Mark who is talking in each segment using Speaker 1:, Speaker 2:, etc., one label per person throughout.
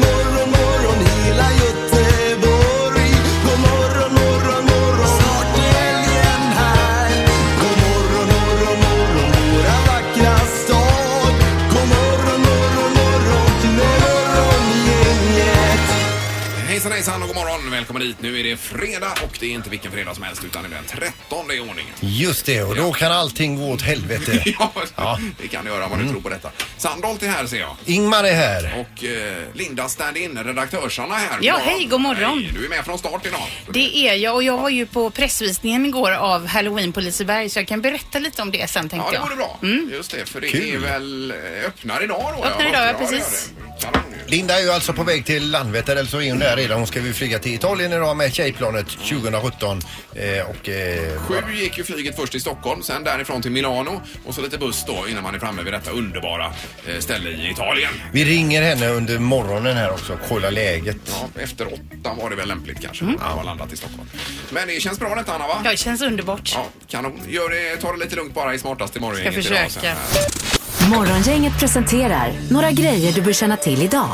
Speaker 1: morgon, morgon hela Göteborg. God morgon, morgon, morgon. Snart är helgen här. God morgon, morgon, morgon våra vackra stad. God morgon, morgon, morgon morgongänget.
Speaker 2: Hejsan hejsan och god morgon. Välkommen hit. Nu är det fredag och det är inte vilken fredag som helst utan det är den 13 i ordningen.
Speaker 3: Just det, och då kan allting gå åt helvete.
Speaker 2: Ja, det kan du göra om man nu tror på detta. Sandholt är här ser jag.
Speaker 3: Ingmar är här.
Speaker 2: Och eh, Linda stand-in, redaktörsarna är här.
Speaker 4: Ja, hej, god morgon.
Speaker 2: Hej, du är med från start idag.
Speaker 4: Det är jag och jag var ju på pressvisningen igår av Halloween på Liseberg så jag kan berätta lite om det sen tänkte
Speaker 2: Ja, det
Speaker 4: jag. Mm.
Speaker 2: vore bra. Just det, för det är väl eh, öppnar idag då?
Speaker 4: Öppnar idag, ja,
Speaker 2: det
Speaker 4: precis.
Speaker 2: gör det. Kanon ju.
Speaker 3: Linda är ju alltså på väg till Landvetter, eller så är hon där redan. Hon ska ju flyga till Italien idag med tjejplanet 2017. Eh, och, eh,
Speaker 2: Sju gick ju flyget först till Stockholm, sen därifrån till Milano och så lite buss då innan man är framme vid detta underbara eh, ställe i Italien.
Speaker 3: vi ringer henne under morgonen här också och kollar läget.
Speaker 2: Ja, efter åtta var det väl lämpligt kanske. Mm. Han har landat i Stockholm. Men det känns bra detta Anna va?
Speaker 4: Ja, det känns underbart.
Speaker 2: Ja, kanon. Gör det, ta det lite lugnt bara i smartast i morgon.
Speaker 4: Ska försöka.
Speaker 2: eh.
Speaker 5: Morgongänget presenterar några grejer du bör känna till idag.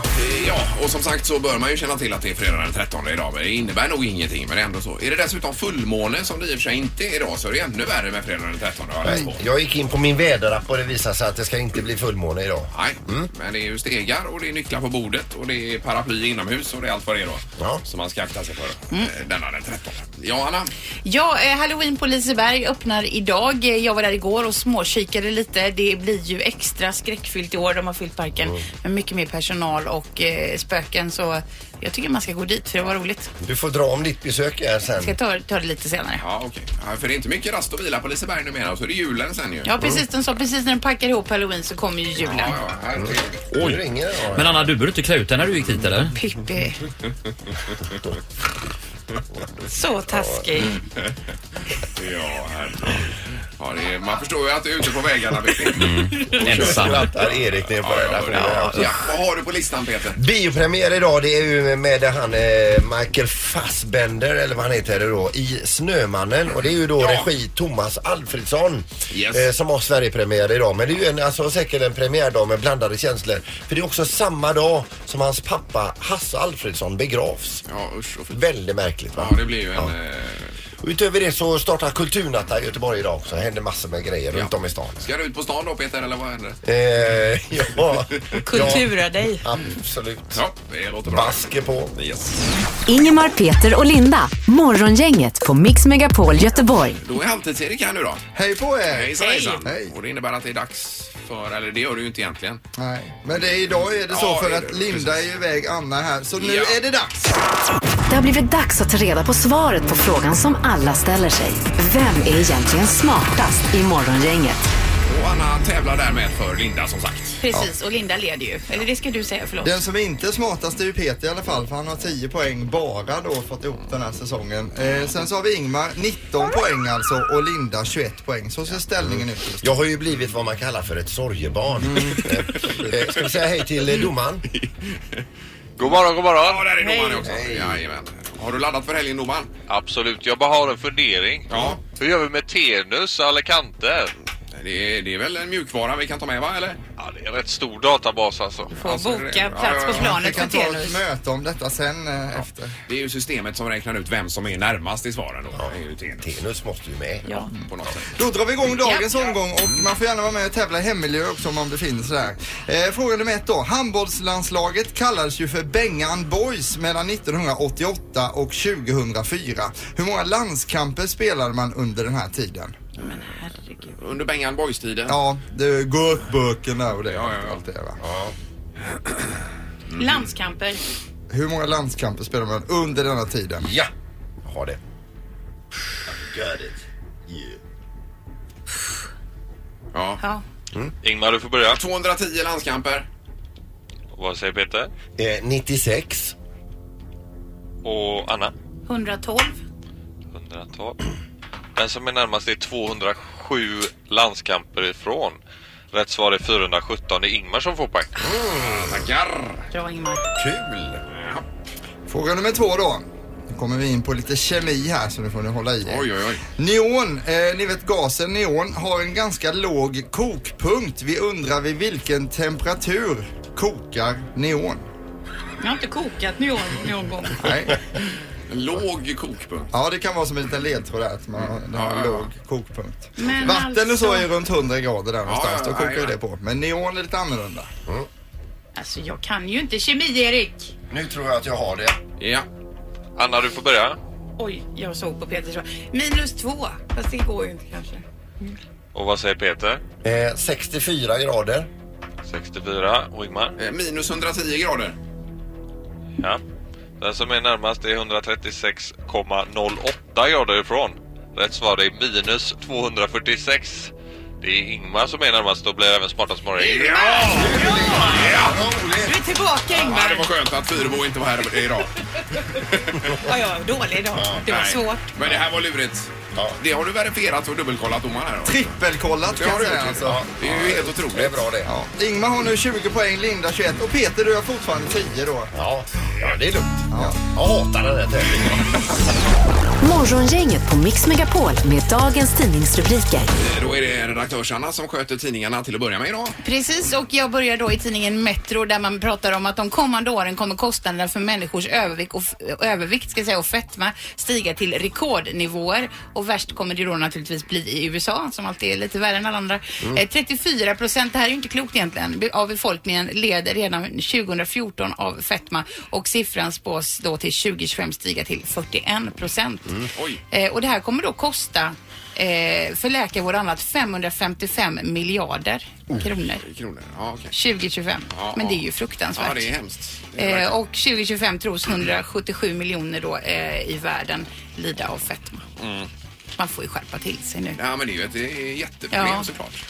Speaker 2: Ja, och som sagt så bör man ju känna till att det är fredag den 13 idag. Men det innebär nog ingenting, men ändå så. Är det dessutom fullmåne som det i och för sig inte är idag så är det ännu värre med fredag den 13 har jag läst på.
Speaker 3: Jag gick in på min väderapp och det visar sig att det ska inte bli fullmåne idag.
Speaker 2: Nej, men det är ju stegar och det är nycklar på bordet och det är paraply inomhus och det är allt vad det är då.
Speaker 3: Ja.
Speaker 2: Som man ska akta sig för mm. denna den 13. Ja, Anna?
Speaker 4: Ja, eh, Halloween på Liseberg öppnar idag. Eh, Jag var där igår och småkikade lite. Det blir ju extra skräckfyllt i år. De har fyllt parken
Speaker 2: Mm.
Speaker 4: med mycket mer personal och eh, spöken så jag tycker man ska gå dit för det var roligt.
Speaker 3: Du får dra om ditt besök här sen.
Speaker 4: Jag ska ta, ta det lite senare.
Speaker 2: Mm. Ja, okej. Ja, för det är inte mycket rast och vila på Liseberg numera och så är det julen sen ju.
Speaker 4: Ja, precis. De sa precis när de packar ihop Halloween så kommer ju julen.
Speaker 2: Ja, ja, herregud.
Speaker 3: Du ringer ja.
Speaker 6: Men Anna, du började inte klä ut dig när du gick hit eller?
Speaker 4: Pippi. Så taskig.
Speaker 2: Ja, herregud. Ja, det är, man förstår ju att du är ute på vägarna, Peter.
Speaker 6: Ensam.
Speaker 3: Skrattar Erik ner på
Speaker 2: alltså-
Speaker 3: den
Speaker 2: Ja, jag
Speaker 3: här
Speaker 2: hör det.
Speaker 3: frågan. också.
Speaker 2: ja, vad har du på listan, Peter?
Speaker 3: Biopremiär idag det är ju med han eh, Michael Fassbender eller vad han heter då i Snömannen och det är ju då
Speaker 2: Ja.
Speaker 3: regi Thomas Alfredsson
Speaker 2: Yes.
Speaker 3: eh, som har Sverigepremiär idag. Men det är ju en, alltså, säkert en premiärdag med blandade känslor. För det är också samma dag som hans pappa Hasse Alfredsson begravs.
Speaker 2: Ja, usch och fy.
Speaker 3: Väldigt märkligt va?
Speaker 2: Ja, det blir ju en...
Speaker 3: Ja.
Speaker 2: eh,
Speaker 3: Och Utöver det så startar Kulturnatta i Göteborg idag också. Det händer massor med grejer runt om i stan.
Speaker 2: Ska du ut på stan då, Peter, eller vad händer?
Speaker 3: Eh, ja.
Speaker 4: Kultura dig.
Speaker 3: Ja, absolut.
Speaker 2: Ja, det låter bra.
Speaker 3: Basker på.
Speaker 2: Yes.
Speaker 5: Ingemar, Peter och Linda. Morgongänget på Mix Megapol Göteborg.
Speaker 2: Då är halvtids-Erik här nu då.
Speaker 7: Hej på er!
Speaker 2: Hejsan, hejsan.
Speaker 7: Hej.
Speaker 2: Och det innebär att det är dags för, eller det gör du ju inte egentligen.
Speaker 7: Nej. Men det är, idag är det så
Speaker 2: Ja,
Speaker 7: för
Speaker 2: det är
Speaker 7: att
Speaker 2: det.
Speaker 7: Linda
Speaker 2: Precis.
Speaker 7: är ju iväg, Anna är här. Så nu
Speaker 2: Ja.
Speaker 7: är det dags.
Speaker 5: Det har blivit dags att ta reda på svaret på frågan som alla ställer sig. Vem är egentligen smartast i Morgongänget?
Speaker 2: Och Anna tävlar därmed för Linda, som sagt.
Speaker 4: Precis, och Linda leder ju. Eller det ska du säga, förlåt.
Speaker 7: Den som inte är smartast är ju Peter i alla fall för han har 10 poäng bara då fått ihop den här säsongen. Eh, sen så har vi Ingmar 19 poäng alltså och Linda 21 poäng. Så ser ställningen ut just nu.
Speaker 3: Jag har ju blivit vad man kallar för ett sorgebarn. Eh, eh, Ska vi säga hej till eh, domaren?
Speaker 8: God morgon, god
Speaker 2: Ja,
Speaker 8: morgon.
Speaker 2: där är domaren också. Jajamän. Har du laddat för helgen, domaren?
Speaker 8: Absolut, jag bara har en fundering.
Speaker 2: Ja.
Speaker 8: Hur gör vi med tenus och Alicante?
Speaker 2: Det är, det är väl en mjukvara vi kan ta med, va? Eller?
Speaker 8: Ja, det är en rätt stor databas alltså.
Speaker 4: Får
Speaker 2: alltså, det- ja,
Speaker 4: boka
Speaker 2: ja,
Speaker 4: plats
Speaker 2: ja.
Speaker 4: på
Speaker 7: Vi
Speaker 4: planet för
Speaker 7: kan ta ett
Speaker 4: Tenus.
Speaker 7: möte om detta sen eh, efter.
Speaker 2: Det är ju systemet som räknar ut vem som är närmast i svaren. Då. Det är ju Tenus
Speaker 3: Tenus måste ju med.
Speaker 4: Ja.
Speaker 2: på något sätt.
Speaker 7: Då drar vi igång dagens omgång och man får gärna vara med och tävla i hemmiljö också om man befinner sig där. Eh, fråga nummer ett då. Handbollslandslaget kallades ju för Bengan Boys mellan 1988 och 2004. Hur många landskamper spelade man under den här tiden?
Speaker 2: Under Bengan Boys-tiden.
Speaker 7: Ja, det är gurkburken där och det.
Speaker 2: Ja, ja, ja.
Speaker 7: Allt det, va?
Speaker 4: Landskamper.
Speaker 7: Hur många landskamper spelade man under denna tiden?
Speaker 3: Ja, jag har det. Got it.
Speaker 2: Ja.
Speaker 4: Ja.
Speaker 8: Ingmar, du får börja.
Speaker 2: 210 landskamper.
Speaker 8: Vad säger Peter?
Speaker 3: Yeah. Eh, 96.
Speaker 8: Och Anna?
Speaker 4: 112.
Speaker 8: 112. Den som är närmast är 207. sju landskamper ifrån. Rätt svar är 417. Det är Ingmar som får poäng.
Speaker 2: Tackar!
Speaker 4: Bra Ingmar.
Speaker 2: Kul! Ja.
Speaker 7: Fråga nummer två då. Nu kommer vi in på lite kemi här så nu får ni hålla i er.
Speaker 2: Oj, oj, oj.
Speaker 7: Neon, eh, ni vet gasen neon, har en ganska låg kokpunkt. Vi undrar vid vilken temperatur kokar neon?
Speaker 4: Jag har inte kokat någon, någon gång.
Speaker 7: Nej.
Speaker 2: En låg kokpunkt.
Speaker 7: Ja, det kan vara som en liten ledtråd där att man har, den har
Speaker 2: Ja, ja, ja.
Speaker 7: låg kokpunkt.
Speaker 4: Men
Speaker 7: Vatten och så
Speaker 4: alltså-
Speaker 7: är runt 100 grader där någonstans.
Speaker 2: ja,
Speaker 7: Då
Speaker 2: ja,
Speaker 7: kokar ju
Speaker 2: ja.
Speaker 7: det på. Men neon är lite annorlunda.
Speaker 4: Alltså jag kan ju inte kemi Erik.
Speaker 3: Nu tror jag att jag har det.
Speaker 2: Ja.
Speaker 8: Anna, du får börja.
Speaker 4: Oj, jag såg på Peters svar. Minus två. Fast det går ju inte kanske.
Speaker 8: Och vad säger Peter?
Speaker 3: Eh, 64 grader.
Speaker 8: 64. Och Ingmar?
Speaker 2: Eh, Minus 110 grader.
Speaker 8: Ja. Den som är närmast är 136,08 grader ifrån. Rätt svar är minus 246. Det är Ingmar som är närmast och blir även smartast morgon.
Speaker 2: Ja!
Speaker 3: Ja,
Speaker 4: Du
Speaker 3: roligt.
Speaker 4: är tillbaka
Speaker 2: Ja, det var
Speaker 4: Ingmar.
Speaker 2: skönt att Fyrebo inte var här idag.
Speaker 4: Ja, jag var dålig idag. Det var
Speaker 2: Nej.
Speaker 4: svårt.
Speaker 2: Men det här var lurigt.
Speaker 3: Ja.
Speaker 2: Det har du verifierat och dubbelkollat domaren här då?
Speaker 7: Trippelkollat
Speaker 2: Det
Speaker 7: kan
Speaker 2: har
Speaker 7: jag
Speaker 2: du
Speaker 7: säga
Speaker 2: gjort
Speaker 7: alltså.
Speaker 2: alltså. Det är ju helt
Speaker 3: Det är
Speaker 2: otroligt.
Speaker 3: bra det.
Speaker 7: Ja. Ingmar har nu 20 poäng, Linda 21 och Peter du har fortfarande 10 då.
Speaker 3: Ja, ja det är lugnt. Ja. Jag hatar den här tävlingen.
Speaker 5: Morgongänget på Mix Megapol med dagens tidningsrubriker.
Speaker 2: Eh, Då är det redaktörs-Anna som sköter tidningarna till att börja med idag.
Speaker 4: Precis, och jag börjar då i tidningen Metro där man pratar om att de kommande åren kommer kostnaderna för människors övervikt och, f- övervikt, ska jag säga, och fetma stiga till rekordnivåer. Och värst kommer det då naturligtvis bli i USA som alltid är lite värre än alla andra. Eh, 34 procent, det här är ju inte klokt egentligen, be- av befolkningen led redan 2014 av fetma och siffran spås då till 2025 stiga till 41 procent.
Speaker 2: Oj.
Speaker 4: Eh, och det här kommer då kosta eh, för läkarvård och annat 555 miljarder kronor
Speaker 2: Kronor. Ja, okej.
Speaker 4: 2025.
Speaker 2: Ja,
Speaker 4: Men det är
Speaker 2: ja.
Speaker 4: ju fruktansvärt.
Speaker 2: Ja, det är hemskt. Det är
Speaker 4: Eh,
Speaker 2: verkligen-
Speaker 4: och 2025 tros 177 miljoner då eh, i världen lida av fetma. Man får ju skärpa till sig nu.
Speaker 2: Mm. Ja, men det är ju ett eh, jätteproblem
Speaker 4: Ja.
Speaker 2: såklart.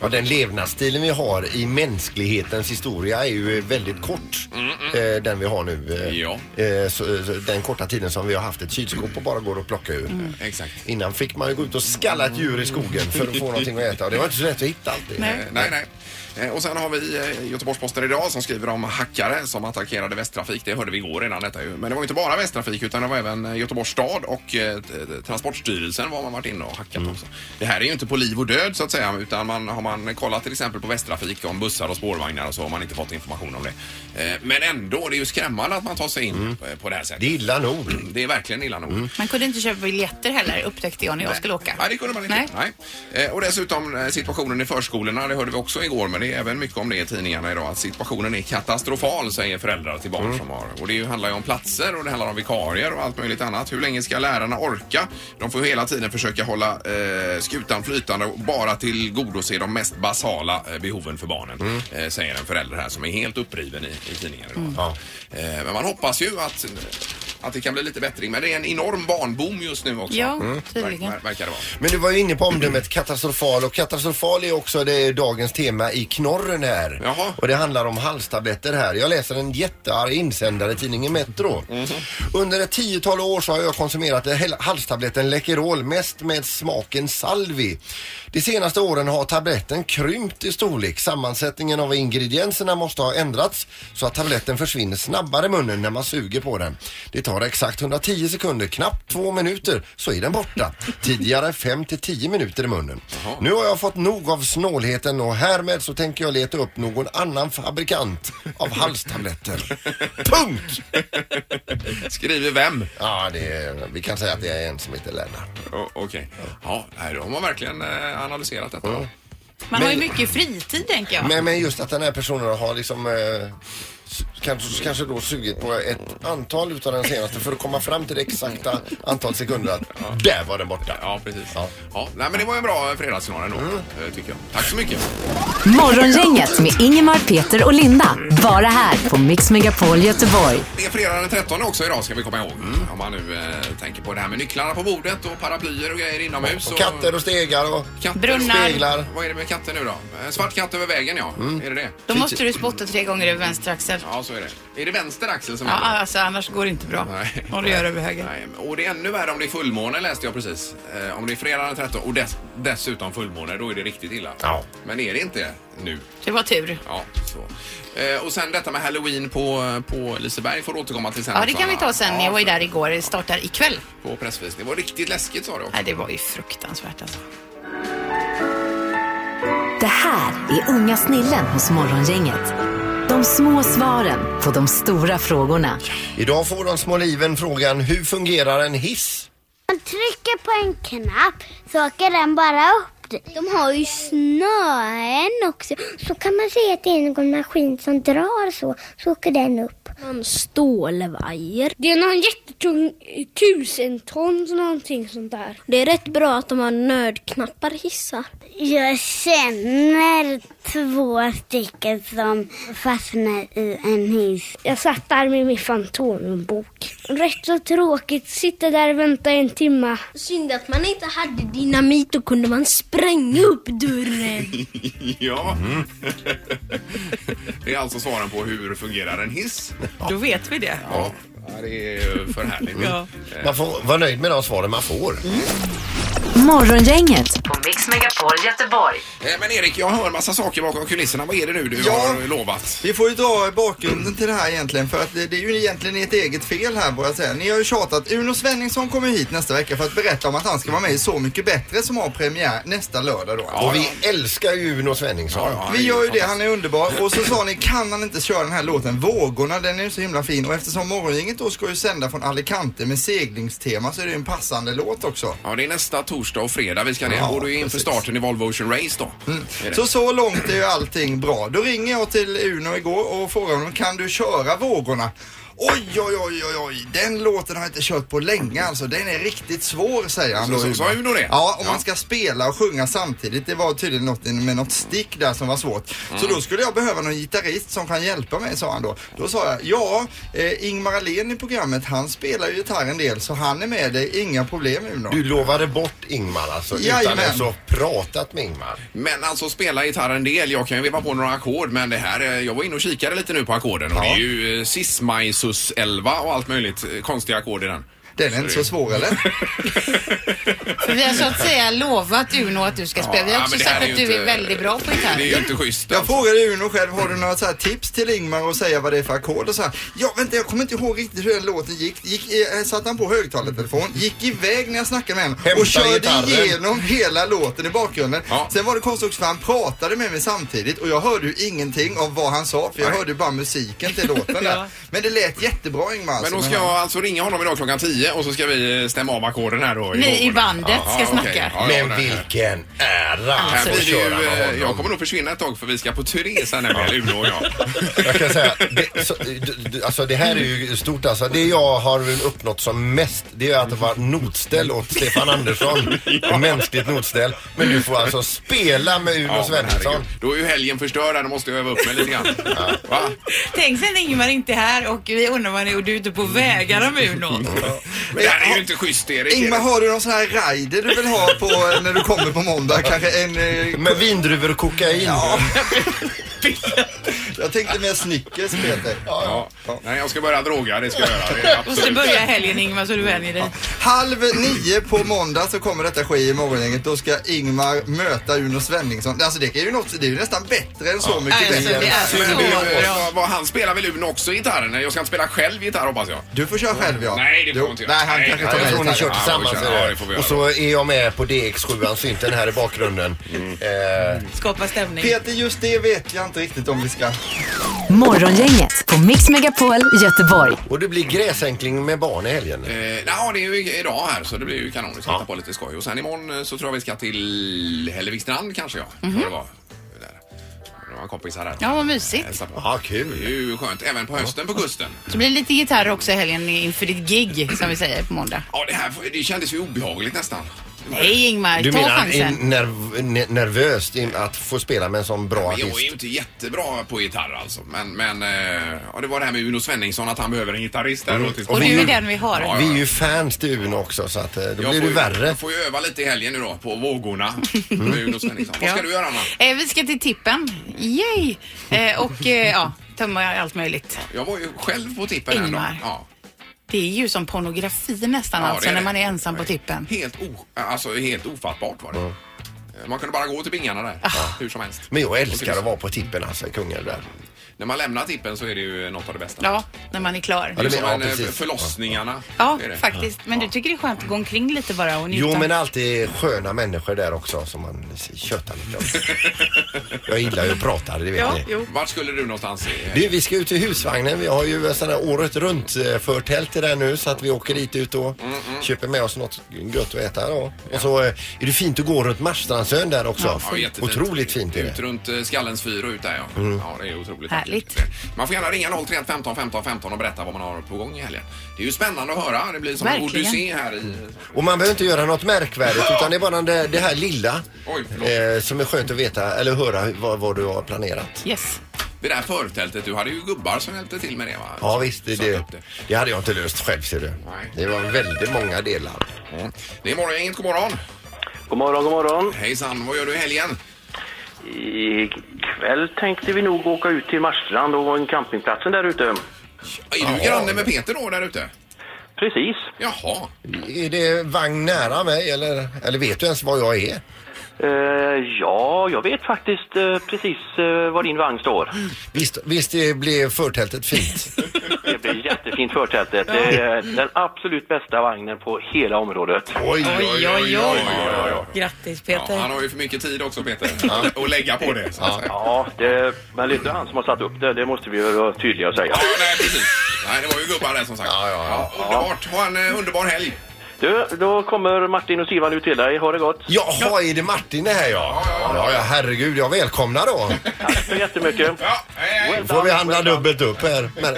Speaker 3: Ja, den levnadsstilen vi har i mänsklighetens historia är ju väldigt kort. Eh, den vi har nu. Eh,
Speaker 2: Mm, Ja.
Speaker 3: eh, så, så, den korta tiden som vi har haft ett kylskåp och bara går och plocka ur.
Speaker 2: Mm. Exakt.
Speaker 3: Innan fick man ju gå ut och skalla ett djur i skogen för att få någonting att äta. Och det var inte så lätt att hitta alltid.
Speaker 4: Nej.
Speaker 2: Eh, Nej, nej. Eh, Och sen har vi eh, Göteborgs-Posten idag som skriver om hackare som attackerade Västtrafik. Det hörde vi igår redan detta ju. Men det var ju inte bara Västtrafik utan det var även eh, Göteborgs stad och eh, t- t- Transportstyrelsen var man varit inne och hackat också. Det här är ju inte på liv och död så att säga utan man, har man kollat till exempel på Västtrafik om bussar och spårvagnar och så har man inte fått information om det. Eh, Men ändå, det är ju skrämmande att man tar sig in eh, på det här
Speaker 3: Det är
Speaker 2: sättet.
Speaker 3: illa nog.
Speaker 2: Det är verkligen illa nog.
Speaker 4: Man kunde inte köpa biljetter heller upptäckte jag när jag skulle åka.
Speaker 2: Nej, det kunde man inte.
Speaker 4: Nej.
Speaker 2: Nej. Eh, Och dessutom eh, situationen i förskolorna, det hörde vi också igår, men det är även mycket om det i tidningarna idag, att situationen är katastrofal, säger föräldrar till barn som har. Och det ju- handlar ju om platser och det handlar om vikarier och allt möjligt annat. Hur länge ska lärarna orka? De får ju hela tiden försöka hålla eh, skutan flytande och bara tillgodose de mest basala eh, behoven för barnen, eh, säger en förälder här som är helt uppriven i, i tidningen
Speaker 4: Mm.
Speaker 2: idag.
Speaker 3: Ja.
Speaker 2: Eh, men man hoppas ju att eh, att det kan bli lite bättring, men det är en enorm barnboom just nu också.
Speaker 4: Ja, tydligen.
Speaker 2: Ver- ver- verkar det vara.
Speaker 3: Men du var ju inne på omdömet katastrofal och katastrofal är också det dagens tema i knorren här.
Speaker 2: Jaha.
Speaker 3: Och det handlar om halstabletter här. Jag läser en jättearg insändare i tidningen Metro. Under ett tiotal år så har jag konsumerat hel- halstabletten Läkerol mest med smaken salvi. De senaste åren har tabletten krympt i storlek. Sammansättningen av ingredienserna måste ha ändrats så att tabletten försvinner snabbare i munnen när man suger på den. Det tar exakt 110 sekunder, knappt två minuter, så är den borta. Tidigare 5 till 10 minuter i munnen. Nu har jag fått nog av snålheten och härmed så tänker jag leta upp någon annan fabrikant av halstabletter. Punkt!
Speaker 2: Skriver vem?
Speaker 3: Ja, det är, vi kan säga att det är en som heter Lennart.
Speaker 2: O- Okej. Ja, nej, då har man verkligen eh, analyserat detta.
Speaker 4: Man har ju mycket fritid tänker jag.
Speaker 3: Men, men just att den här personen har liksom eh, s- Kanske, kanske då sugit på ett antal utav den senaste för att komma fram till det exakta antal sekunder att där var den borta.
Speaker 2: Ja, precis. Ja.
Speaker 3: Ja. Mm.
Speaker 2: nej, men det var ju en bra fredagssignal ändå, eh, tycker jag. Tack så mycket.
Speaker 5: Morgongänget med Ingemar, Peter och Linda. Bara här på Mix Megapol Göteborg.
Speaker 2: Det är fredag den 13 också idag, ska vi komma ihåg.
Speaker 3: Mm.
Speaker 2: Om man nu eh, tänker på det här med nycklarna på bordet och paraplyer och grejer inomhus.
Speaker 3: Och katter och stegar och
Speaker 2: katter och
Speaker 4: Brunnar.
Speaker 2: speglar.
Speaker 3: speglar. Mm.
Speaker 2: Vad är det med katter nu då? Eh, Svart katt över vägen, ja. Är det det?
Speaker 4: Då måste du spotta tre gånger över vänster axel. enkelt.
Speaker 2: Ja, så är det. Är det vänster axel som
Speaker 4: Ja,
Speaker 2: gäller?
Speaker 4: alltså, annars går det inte bra.
Speaker 2: Nej.
Speaker 4: Om du gör över höger.
Speaker 2: Nej, men- och det är ännu värre om det är fullmåne läste jag precis. Eh, om det är fredag den 13 och dess, dessutom fullmåne, då är det riktigt illa.
Speaker 3: Ja.
Speaker 2: Men är det inte nu?
Speaker 4: Det var tur.
Speaker 2: Ja, så. Eh, och sen detta med halloween på, på Liseberg får du återkomma till sen.
Speaker 4: Ja, det kan
Speaker 2: Sanna.
Speaker 4: vi ta sen. Jag var ju
Speaker 2: för-
Speaker 4: där igår. Det startar ikväll.
Speaker 2: På pressvisning. Det var riktigt läskigt sa du också.
Speaker 4: Nej, det var ju fruktansvärt alltså.
Speaker 5: Det här är Unga snillen hos Morgongänget. De små svaren på de stora frågorna.
Speaker 3: Idag får de små liven frågan hur fungerar en hiss?
Speaker 9: Man trycker på en knapp så åker den bara upp dit. De har ju snören också. Så kan man säga att det är någon maskin som drar så, så åker den upp. Någon stålvajer. Det är någon jättetung, tusen tons någonting sånt där. Det är rätt bra att de har nördknappar hissar. Jag känner två stycken som fastnar i en hiss. Jag satt där med min Fantomenbok. Rätt så tråkigt, sitta där och vänta en timma. Synd att man inte hade dynamit, då kunde man spränga upp dörren.
Speaker 4: Mm.
Speaker 2: Ja.
Speaker 7: Mm.
Speaker 2: det är alltså svaren på hur fungerar en hiss?
Speaker 4: Då vet vi det.
Speaker 2: Ja. Det är ju för härligt.
Speaker 7: Mm.
Speaker 4: Ja.
Speaker 2: Eh.
Speaker 3: Man får vara nöjd med de svaren man får.
Speaker 2: Mm.
Speaker 5: Morgongänget
Speaker 10: På Mix Megapol Göteborg.
Speaker 2: Eh, Men Erik, jag hör massa saker bakom kulisserna. Vad är det nu du
Speaker 7: Ja.
Speaker 2: har lovat?
Speaker 7: Vi får ju dra bakgrunden till det här egentligen för att det, det är ju egentligen ert eget fel här bara säga. Ni har ju tjatat. Uno Svenningsson kommer hit nästa vecka för att berätta om att han ska vara med i Så mycket bättre som har premiär nästa lördag då.
Speaker 3: Och vi älskar ju Uno Svenningsson.
Speaker 2: Ja,
Speaker 7: Vi gör ju det, han är underbar. Och så sa ni, kan han inte köra den här låten Vågorna? Den är ju så himla fin. Och eftersom Morgongänget då ska ju sända från Alicante med seglingstema så är det ju en passande låt också.
Speaker 2: Ja, det är nästa torsdag och fredag vi ska ner.
Speaker 7: Ja,
Speaker 2: och du är inför
Speaker 7: precis. Mm.
Speaker 2: starten i Volvo Ocean Race då. Är det?
Speaker 7: Så så långt är ju allting bra. Då ringer jag till Uno igår och frågar honom, kan du köra Vågorna? Oj, oj, oj, oj, oj, den låten har jag inte kört på länge alltså. Den är riktigt svår, säger han
Speaker 2: Så-
Speaker 7: då.
Speaker 2: så- sa Uno det?
Speaker 7: Ja, om
Speaker 2: Ja.
Speaker 7: man ska spela och sjunga samtidigt. Det var tydligen något med något stick där som var svårt.
Speaker 2: Mm.
Speaker 7: Så då skulle jag behöva någon gitarrist som kan hjälpa mig, sa han då. Då sa jag, ja, eh, Ingmar Ahlén i programmet, han spelar ju gitarr en del, så han är med dig, inga problem Uno.
Speaker 3: Du lovade bort Ingmar alltså utan
Speaker 7: Jajamän.
Speaker 3: ens att ha pratat med Ingmar.
Speaker 2: Men alltså spela gitarr en del. Jag kan ju veva på några ackord men det här, eh, jag var inne och kikade lite nu på ackorden och det är ju eh, sis, maj, sus, 11 och allt möjligt eh, konstiga ackord i den.
Speaker 7: Den är inte så svår eller?
Speaker 4: För vi har så att säga lovat Uno att du ska spela. Vi har också
Speaker 2: men det här
Speaker 4: sagt
Speaker 2: ju
Speaker 4: att du
Speaker 2: inte-
Speaker 4: är väldigt bra på
Speaker 2: Det är
Speaker 4: gitarr.
Speaker 2: ju inte schysst.
Speaker 7: Jag
Speaker 2: alltså.
Speaker 7: frågade Uno själv, har du några så här tips till Ingmar och säga vad det är för ackord och så här. Ja, vänta, jag kommer inte ihåg riktigt hur den låten gick. gick eh, satte han på högtalartelefon, gick iväg när jag snackade med honom
Speaker 3: Hämta
Speaker 7: och körde
Speaker 3: gitarren.
Speaker 7: igenom hela låten i bakgrunden.
Speaker 2: Ja.
Speaker 7: Sen var det konstigt också för han pratade med mig samtidigt och jag hörde ju ingenting av vad han sa för jag
Speaker 2: Nej.
Speaker 7: hörde ju bara musiken till låten där. Men det lät jättebra Ingmar.
Speaker 2: Men
Speaker 7: alltså,
Speaker 2: då ska
Speaker 7: men han-
Speaker 2: jag alltså ringa honom idag klockan 10 och så ska vi eh, stämma av ackorden här då.
Speaker 4: Ni i
Speaker 2: morgon.
Speaker 4: bandet ska
Speaker 2: okej.
Speaker 4: snacka.
Speaker 2: Ja, ja,
Speaker 3: Men
Speaker 2: nej.
Speaker 3: vilken ära
Speaker 2: Här
Speaker 3: att få
Speaker 2: blir det
Speaker 3: köra
Speaker 2: ju,
Speaker 3: med
Speaker 2: eh, jag
Speaker 3: honom.
Speaker 2: kommer nog försvinna ett tag för vi ska på turné sen nämligen, Uno och jag.
Speaker 3: Jag kan säga, det, så, d- d- alltså det här är ju stort alltså. Det jag har uppnått som mest det är att vara notställ åt Stefan Andersson. Mänskligt notställ. Men du får alltså spela med Uno
Speaker 2: Ja, men
Speaker 3: Svensson.
Speaker 2: herregud. Då är ju helgen förstörd här, då måste jag öva upp mig lite grann. Va?
Speaker 4: Tänk sen Ingmar inte är här och vi undrar vad han är och du är ute på vägar om Uno.
Speaker 2: Mm. Men det här är ju inte schysst Erik.
Speaker 7: Ingmar, har du någon sån här rider du vill ha på eh, när du kommer på måndag? Kanske en... eh,
Speaker 3: Med vindruvor och kokain.
Speaker 7: Jag tänkte mer Snickers Peter.
Speaker 2: Ja. Nej, jag ska börja droga, det ska jag göra. Det är
Speaker 4: Och så
Speaker 2: absolut.
Speaker 4: börjar helgen Ingmar så du vänjer dig.
Speaker 7: Halv nio på måndag så kommer detta ske i morgongänget. Då ska Ingmar möta Uno Svenningsson. Alltså det är ju, något, det är ju nästan bättre än så mycket
Speaker 4: Nej, alltså,
Speaker 7: bättre.
Speaker 4: det är så
Speaker 2: Men du, eh,
Speaker 4: bra.
Speaker 2: vad- vad, han spelar väl Uno också gitarren? Jag ska inte spela själv gitarr hoppas jag. Eh,
Speaker 7: Du får köra själv ja.
Speaker 2: Nej, det får
Speaker 7: Jo,
Speaker 2: man inte göra.
Speaker 7: Nej, han
Speaker 2: Nej,
Speaker 7: kanske
Speaker 2: nej,
Speaker 7: tar
Speaker 2: det
Speaker 3: Jag
Speaker 7: med
Speaker 3: tror ni
Speaker 7: gitarren.
Speaker 3: kör
Speaker 2: Ja,
Speaker 3: tillsammans.
Speaker 2: vi kör.
Speaker 3: eller?
Speaker 2: Ja, det får vi göra.
Speaker 3: och så är jag med på DX7, synten här i bakgrunden.
Speaker 2: Mm.
Speaker 3: Eh,
Speaker 4: Skapa stämning.
Speaker 7: Peter, just det vet jag inte riktigt om vi ska...
Speaker 5: Morgongänget på Mix Megapol Göteborg.
Speaker 3: och det blir gräsänkling med barn i helgen.
Speaker 2: Eh, ja, det är ju idag här så det blir ju kanon. Vi ska hitta på lite skoj. Och sen imorgon eh, så tror jag vi ska till Hällevikstrand kanske ja. Mm det var. Där. Det var en kompis här.
Speaker 4: Ja, vad mysigt.
Speaker 2: Hälsa på.
Speaker 3: Ja,
Speaker 2: Det
Speaker 3: kul.
Speaker 2: är ju skönt även på hösten på kusten.
Speaker 4: Så blir det lite gitarr också i helgen inför ditt gig som vi säger på måndag.
Speaker 2: Ja, det här det kändes ju obehagligt nästan.
Speaker 4: Nej Ingmar,
Speaker 3: Du
Speaker 4: ta
Speaker 3: menar
Speaker 4: chansen.
Speaker 3: in, nerv, ne- nervöst in, att få spela med en sån bra
Speaker 2: Men jag är
Speaker 3: artist?
Speaker 2: ju inte jättebra på gitarr alltså. Men, men eh, ja, det var det här med Uno Svenningsson att han behöver en gitarrist
Speaker 3: Mm.
Speaker 2: där. åt-
Speaker 4: Och du är den vi har.
Speaker 3: Vi är ju fans till Uno också så att eh, då
Speaker 2: Jag
Speaker 3: blir det
Speaker 2: får ju-
Speaker 3: värre.
Speaker 2: Jag får ju öva lite i helgen nu då på vågorna med Uno Svenningsson. Vad ska
Speaker 4: Ja.
Speaker 2: du göra Anna?
Speaker 4: Eh, vi ska till tippen. Yay! Eh, och eh, ja, tömma allt möjligt.
Speaker 2: Jag var ju själv på tippen här
Speaker 4: Ingmar.
Speaker 2: då. Ja,
Speaker 4: Det är ju som pornografi nästan
Speaker 2: Ja, det
Speaker 4: alltså
Speaker 2: är
Speaker 4: när
Speaker 2: det.
Speaker 4: man är ensam på tippen.
Speaker 2: helt, o, alltså, helt ofattbart var det. Eh, Man kunde bara gå till bingarna där,
Speaker 4: Ah.
Speaker 2: hur som helst.
Speaker 3: Mm. Men jag
Speaker 2: Och
Speaker 3: älskar
Speaker 2: till-
Speaker 3: att vara på tippen alltså, i Kungälv där.
Speaker 2: När man lämnar tippen så är det ju något av det bästa.
Speaker 4: Ja, när man är klar.
Speaker 2: Det är som
Speaker 3: ja,
Speaker 2: en, eh,
Speaker 3: precis.
Speaker 2: förlossningarna.
Speaker 4: Ja,
Speaker 2: är det.
Speaker 4: faktiskt. Men du tycker det är skönt att gå omkring lite bara och njuta?
Speaker 3: Jo men alltid sköna människor där också som man tjötar lite om. Jag gillar ju att prata, det vet
Speaker 4: Ja,
Speaker 3: ni.
Speaker 4: jo.
Speaker 2: Vart skulle du någonstans? I,
Speaker 3: Du, vi ska ut i husvagnen. Vi har ju sådana här året runt eh, förtält till där nu så att vi åker dit ut och
Speaker 2: Mm,
Speaker 3: köper med oss något gött att äta. Då. Och så eh, är det fint att gå runt Marstrandsön där också.
Speaker 2: Ja, jättefint.
Speaker 3: Otroligt fint är det. Mm.
Speaker 2: Ut runt eh, Skallens fyr och ut där ja. Ja, det är otroligt.
Speaker 4: Härligt.
Speaker 2: Man får gärna ringa 031 15 15 15 och berätta vad man har på gång i helgen. Det är ju spännande att höra. Det blir som en
Speaker 4: Verkligen.
Speaker 2: odyssé här i...
Speaker 3: Och man behöver inte göra något märkvärdigt utan det är bara det, det här lilla
Speaker 2: Oj, förlåt.
Speaker 3: eh, som är skönt att veta eller höra vad, vad du har planerat.
Speaker 4: Yes.
Speaker 2: Det där förtältet, du hade ju gubbar som hjälpte till med det va?
Speaker 3: Ja visst, det,
Speaker 2: Satte
Speaker 3: det,
Speaker 2: upp det.
Speaker 3: det hade jag inte löst själv ser du. Det var väldigt många delar.
Speaker 2: Mm. Det är morgongänget, god morgon.
Speaker 11: God morgon, god morgon.
Speaker 2: Hejsan, vad gör du i helgen?
Speaker 11: Ikväll tänkte vi nog åka ut till Marstrand och en campingplatsen där ute.
Speaker 2: Är du granne med Peter då där ute?
Speaker 11: Precis.
Speaker 2: Jaha.
Speaker 3: Är det vagn nära mig eller, eller vet du ens var jag är?
Speaker 11: Eh, ja, jag vet faktiskt eh, precis eh, var din vagn står.
Speaker 3: Visst, visst det blev förtältet fint?
Speaker 11: Det blir jättefint förtältet. Det är den absolut bästa vagnen på hela området.
Speaker 3: Oj,
Speaker 4: Oj, oj, oj. Grattis
Speaker 2: Ja, han
Speaker 4: Peter.
Speaker 2: har ju för mycket tid också Peter, att- att lägga på det. Så att säga.
Speaker 11: Ja, det, men det är inte han som har satt upp det. Det måste vi vara tydliga och säga.
Speaker 2: Ja, nej precis. Nej, det var ju gubbar där som sagt. Ja, ja, ja. Underbart, ha en eh, underbar helg.
Speaker 11: Du, då kommer Martin och Sivan ut till dig. Ha det gott.
Speaker 3: Jaha, är det Martin det här ja? Ja, ja, herregud, jag välkomnar då.
Speaker 11: Tack så jättemycket.
Speaker 2: Ja, hej, hej.
Speaker 3: Får vi handla dubbelt upp här. Men,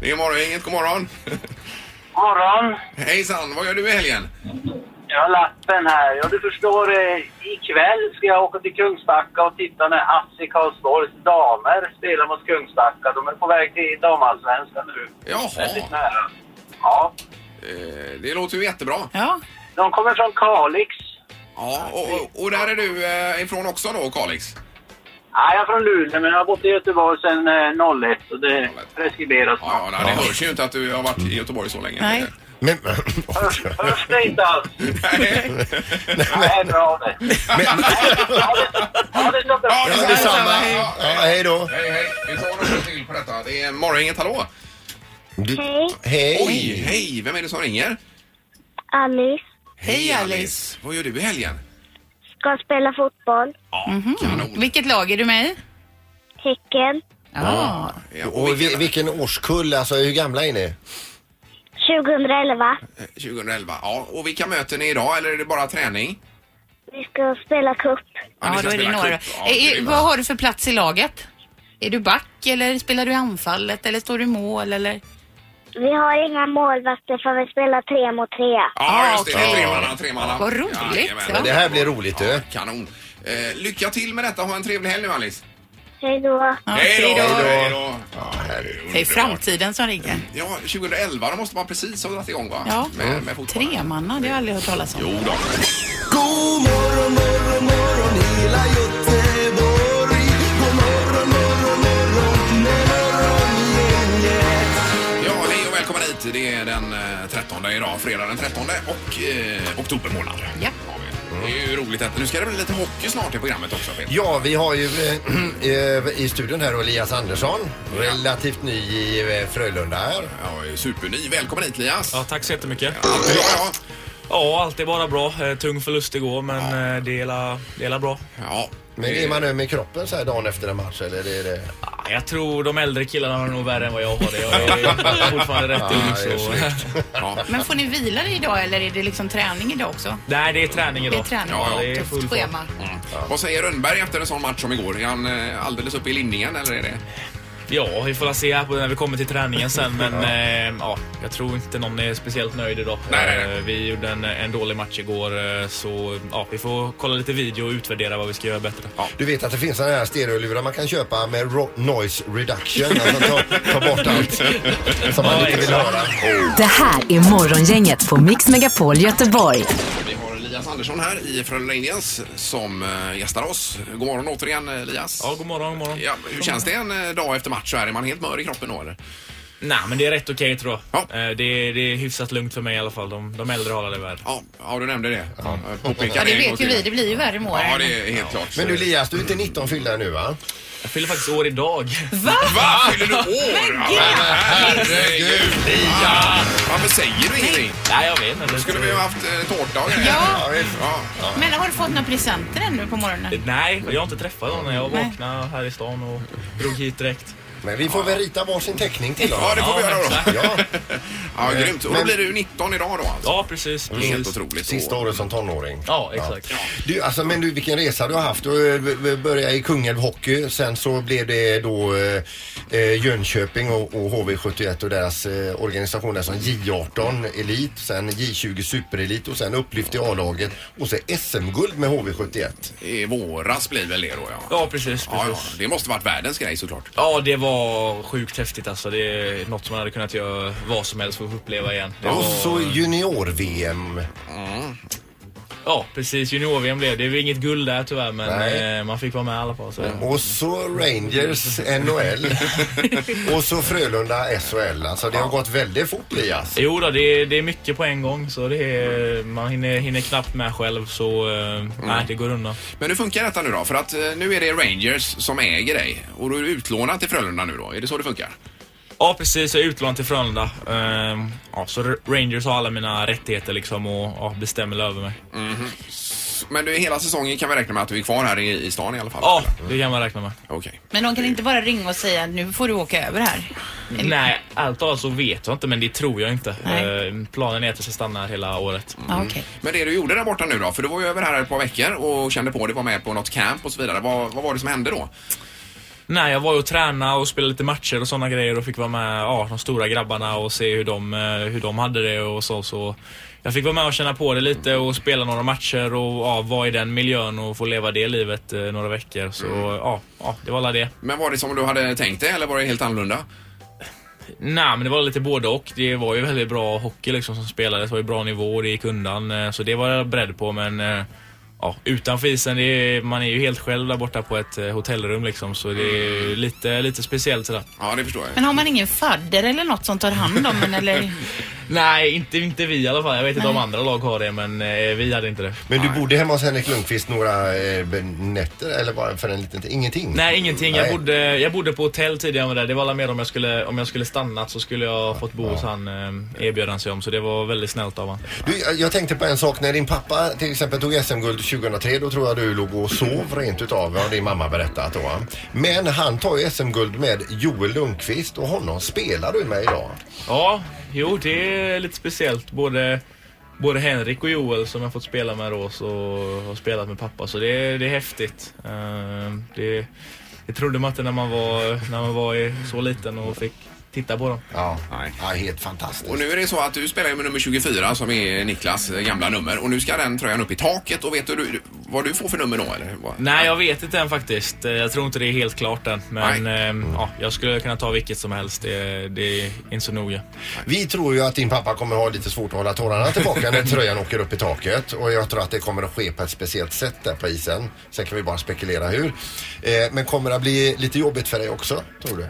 Speaker 2: Det är morgongänget, god morgon.
Speaker 12: morgon.
Speaker 2: Hejsan, vad gör du i helgen?
Speaker 12: Jag har lappen här. Ja, du förstår, eh, ikväll ska jag åka till Kungsbacka och titta när AFC Karlsborgs damer spelar mot Kungsbacka. De är på väg till damallsvenskan nu.
Speaker 2: Jaha.
Speaker 12: Väldigt nära. Ja.
Speaker 2: Eh, Det låter ju jättebra.
Speaker 4: Ja.
Speaker 12: De kommer från Kalix.
Speaker 2: Ja, och, och- och där är du eh, ifrån också då, Kalix?
Speaker 12: Nej, jag är från Luleå, men jag har bott i Göteborg sedan eh, 01 och det preskriberas
Speaker 2: Ja, nej, det hörs ju inte att du har varit i Göteborg så länge.
Speaker 12: Nej.
Speaker 3: men,
Speaker 12: Hörs det inte alls? Nej, bra det. Ha det så bra.
Speaker 3: ja, detsamma. Ja, hej då.
Speaker 2: Hej, hej. Vi tar några till på detta. Det är morgongänget, hallå?
Speaker 3: Du,
Speaker 2: Oj,
Speaker 3: hej.
Speaker 2: hej. Vem är det som ringer?
Speaker 9: Alice
Speaker 4: Hej Alice.
Speaker 2: Vad gör du i helgen?
Speaker 9: ska spela fotboll.
Speaker 4: Mhm. Vilket lag är du med i?
Speaker 9: Häcken,
Speaker 4: Ja.
Speaker 2: Ja, och
Speaker 3: Och vi- vilken årskull, alltså hur gamla är ni?
Speaker 9: 2011.
Speaker 2: eh, 2011. Ja, och vilka möten är idag eller är det bara träning?
Speaker 9: Vi ska spela cup.
Speaker 2: ni
Speaker 4: Ja,
Speaker 2: ska
Speaker 4: då är det
Speaker 2: spela
Speaker 4: några.
Speaker 2: cup. Ja,
Speaker 4: Eh,
Speaker 2: det
Speaker 4: eh,
Speaker 2: är bra.
Speaker 4: vad har du för plats i laget? Är du back eller spelar du i anfallet eller står du i mål eller?
Speaker 9: Vi har inga målvakter för vi spelar tre mot tre.
Speaker 2: Ja, just det.
Speaker 3: okej.
Speaker 2: Tremanna, tremanna.
Speaker 4: Ah, Vad roligt,
Speaker 2: jajamän.
Speaker 4: va?
Speaker 3: Det här blir roligt du.
Speaker 2: Kanon. Eh, lycka till med detta. Ha en trevlig helg nu, Alice.
Speaker 9: Hej då.
Speaker 4: Ja,
Speaker 2: Hej då!
Speaker 4: hej då.
Speaker 2: Hej då!
Speaker 4: Det är framtiden som ringer.
Speaker 2: Ja, 2011, då måste man precis ha dragit igång va?
Speaker 4: Ja.
Speaker 2: Med, med fotbollen.
Speaker 4: Tremanna, det har jag aldrig hört talas om.
Speaker 2: Jo då.
Speaker 1: God morgon, morgon, morgon hela Göteborg. God morgon, morgon, morgon, morgongänget.
Speaker 2: Ja, hej och välkommen hit. Det är den eh, 13 idag, fredag den 13 och eh, oktober månad.
Speaker 4: Ja.
Speaker 2: Har vi. Det är ju roligt att nu ska det bli lite hockey snart i programmet också. Peter.
Speaker 3: Ja, vi har ju eh, i studion här Elias Andersson, relativt ny i eh, Frölunda här.
Speaker 2: Ja, superny. Välkommen hit Lias.
Speaker 13: Ja, tack så jättemycket.
Speaker 2: Ja, ja.
Speaker 13: Ja, allt är bara bra. Eh, Tung förlust igår, men eh, det är hela- det är hela bra.
Speaker 2: ja.
Speaker 3: Men är man öm i kroppen så här dagen efter en match eller är det...
Speaker 13: Ah, Jag tror de äldre killarna har nog värre än vad jag har det. Jag är fortfarande rätt
Speaker 3: Ja,
Speaker 13: ung.
Speaker 3: det är
Speaker 13: Så.
Speaker 2: Ja.
Speaker 4: Men får ni vila idag eller är det liksom träning idag också?
Speaker 13: Nej, det är träning
Speaker 4: Det är
Speaker 13: idag.
Speaker 4: träning.
Speaker 2: Ja,
Speaker 13: det är full
Speaker 4: Tufft
Speaker 13: fart.
Speaker 4: schema.
Speaker 2: Mm. Vad säger Rönnberg efter en sån match som igår? Är han eh, alldeles uppe i limningen eller är det?
Speaker 13: Ja, vi får se här på när vi kommer till träningen sen. Men eh, ja, jag tror inte någon är speciellt nöjd idag. Eh, Vi gjorde en, en dålig match igår. eh, Så ja, vi får kolla lite video och utvärdera vad vi ska göra bättre.
Speaker 3: Du vet att det finns sådana här stereolurar man kan köpa med ro- noise reduction. Alltså ta, ta bort allt som man inte vill höra.
Speaker 5: Det här är Morgongänget på Mix Megapol Göteborg.
Speaker 2: Vi har Elias Andersson här i Frölunda Indians som eh, gästar oss. God morgon återigen eh, Elias. Ja,
Speaker 13: god morgon. God morgon.
Speaker 2: Ja, hur känns det en eh, dag efter match så här? Är man helt mör i kroppen då eller?
Speaker 13: Nej, men det är rätt okej tror jag. Eh, Det, är, det är hyfsat lugnt för mig i alla fall. De, de äldre har det värre.
Speaker 2: Ja, ja, du nämnde det. Ja.
Speaker 4: Ja, det vet ju vi. Det blir ju värre med åren.
Speaker 2: är helt klart.
Speaker 3: Men du Elias, du är inte 19 fyllda nu va?
Speaker 13: Jag fyller faktiskt år idag.
Speaker 4: Va?
Speaker 2: Va? Fyller du år?
Speaker 13: Men
Speaker 2: Ja,
Speaker 13: gud!
Speaker 2: herregud Elias! Varför säger du ingenting?
Speaker 13: Nej, jag vet inte.
Speaker 2: skulle vi ha haft eh, tårta och
Speaker 4: Ja.
Speaker 2: ja.
Speaker 4: Men har du fått några presenter ännu på morgonen?
Speaker 13: Nej, jag har inte träffat dem när jag
Speaker 4: Nej.
Speaker 13: vaknade här i stan och drog hit direkt.
Speaker 3: Men vi får väl rita varsin teckning till honom.
Speaker 2: Ja, det får vi göra då.
Speaker 3: Ja.
Speaker 2: Ja, grymt. Och då
Speaker 3: Men-
Speaker 2: blir du 19 idag då alltså?
Speaker 13: Ja, precis.
Speaker 2: Det är helt otroligt.
Speaker 3: Sista året som tonåring.
Speaker 13: Ja, exakt.
Speaker 3: Du, alltså, men du, vilken resa du har haft. Du eh, b- b- började i Kungälv Hockey, sen så blev det då eh, eh, Jönköping och, och HV71 och deras eh, organisation där som J18 Elit, sen J20 Superelit och sen upplyft i A-laget och så SM-guld med HV71.
Speaker 2: I våras blir väl det då ja.
Speaker 13: Ja, precis. precis.
Speaker 2: Ja, ja. Det måste varit världens grej såklart.
Speaker 13: Ja, det var sjukt häftigt alltså. Det är något man hade kunnat göra vad som helst för att få uppleva igen. Det
Speaker 3: Och
Speaker 13: var...
Speaker 3: så junior-VM.
Speaker 13: Ja, precis. Junior-VM blev det. Det var inget guld där tyvärr, men
Speaker 3: Nej. Mm.
Speaker 13: eh, man fick vara med i alla fall. Så.
Speaker 3: Och så Rangers NHL. och så Frölunda SHL. Alltså det har gått väldigt fort Elias.
Speaker 13: Jo då, det är, det är mycket på en gång så det är, man hinner, hinner knappt med själv så eh, nej, det går undan.
Speaker 2: Men hur funkar detta nu då? För att eh, nu är det Rangers som äger dig och du är du utlånad till Frölunda nu då. Är det så det funkar?
Speaker 13: Ja precis, jag är utlånad till Frölunda. Ehm, ja, så R- Rangers har alla mina rättigheter liksom och ja, bestämmer över mig.
Speaker 2: S- Men du, hela säsongen kan vi räkna med att du är kvar här i, i stan i alla fall?
Speaker 13: Ja, det kan man räkna med.
Speaker 2: Okej.
Speaker 4: Men de kan inte bara ringa och säga nu får du åka över här.
Speaker 13: Nej, allt av allt så vet jag inte men det tror jag inte.
Speaker 4: Nej.
Speaker 13: Ehm, planen är att jag ska stanna här hela året.
Speaker 4: Ja, okej.
Speaker 2: Men det du gjorde där borta nu då? För du var ju över här ett par veckor och kände på det, var med på något camp och så vidare. Vad, vad var det som hände då?
Speaker 13: Nej, jag var ju och tränade och spelade lite matcher och sådana grejer och fick vara med ja, de stora grabbarna och se hur de, eh, hur de hade det och så, så. Jag fick vara med och känna på det lite och spela några matcher och ja, vara i den miljön och få leva det livet eh, några veckor. Så ja, ja, det var alla det.
Speaker 2: Men var det som du hade tänkt dig eller var det helt annorlunda?
Speaker 13: Nej, men det var lite både och. Det var ju väldigt bra hockey liksom som spelades. Det var ju bra nivå och det gick undan. eh, Så det var jag beredd på, men eh, ja, utanför isen, det är, man är ju helt själv där borta på ett eh, hotellrum liksom. Så det är lite, lite speciellt sådär.
Speaker 2: Ja, det förstår jag.
Speaker 4: Men har man ingen fadder eller något som tar hand om en eller?
Speaker 13: Nej, inte, inte vi i alla fall. Jag vet inte om andra lag har det, men eh, vi hade inte det.
Speaker 3: Men du bodde hemma hos Henrik Lundqvist några eh, b- nätter eller bara för en liten tid? Ingenting?
Speaker 13: Nej, ingenting. Jag
Speaker 3: Nej.
Speaker 13: bodde, jag bodde på hotell tidigare med det. Det var alla med om jag skulle, om jag skulle stannat så skulle jag fått bo hos han eh, erbjöd han sig om. Så det var väldigt snällt av honom.
Speaker 3: Du, jag- jag tänkte på en sak. När din pappa till exempel tog SM-guld 2003 då tror jag du låg och sov rent utav. Har din mamma berättat då. va? Men han tar ju SM-guld med Joel Lundqvist och honom spelar du med idag.
Speaker 13: Ja, jo det är lite speciellt. Både, både Henrik och Joel som jag fått spela med då så har spelat med pappa. Så det, är- det är häftigt. Eh, det, det trodde man inte när man var, när man var i- så liten och fick titta på dem.
Speaker 3: Ja, ja helt fantastiskt.
Speaker 2: Och nu är det så att du spelar ju med nummer 24 som är Niklas eh, gamla nummer och nu ska den tröjan upp i taket och vet du- du vad du får för nummer då eller? Vad-
Speaker 13: Nej, jag vet inte än faktiskt. Eh, Jag tror inte det är helt klart än. Men eh, ja, jag skulle kunna ta vilket som helst. Det, det är inte så noga.
Speaker 3: Vi tror ju att din pappa kommer ha lite svårt att hålla tårarna tillbaka när tröjan åker upp i taket och jag tror att det kommer att ske på ett speciellt sätt där på isen. Sen kan vi bara spekulera hur. Eh, men kommer det bli lite jobbigt för dig också, tror du?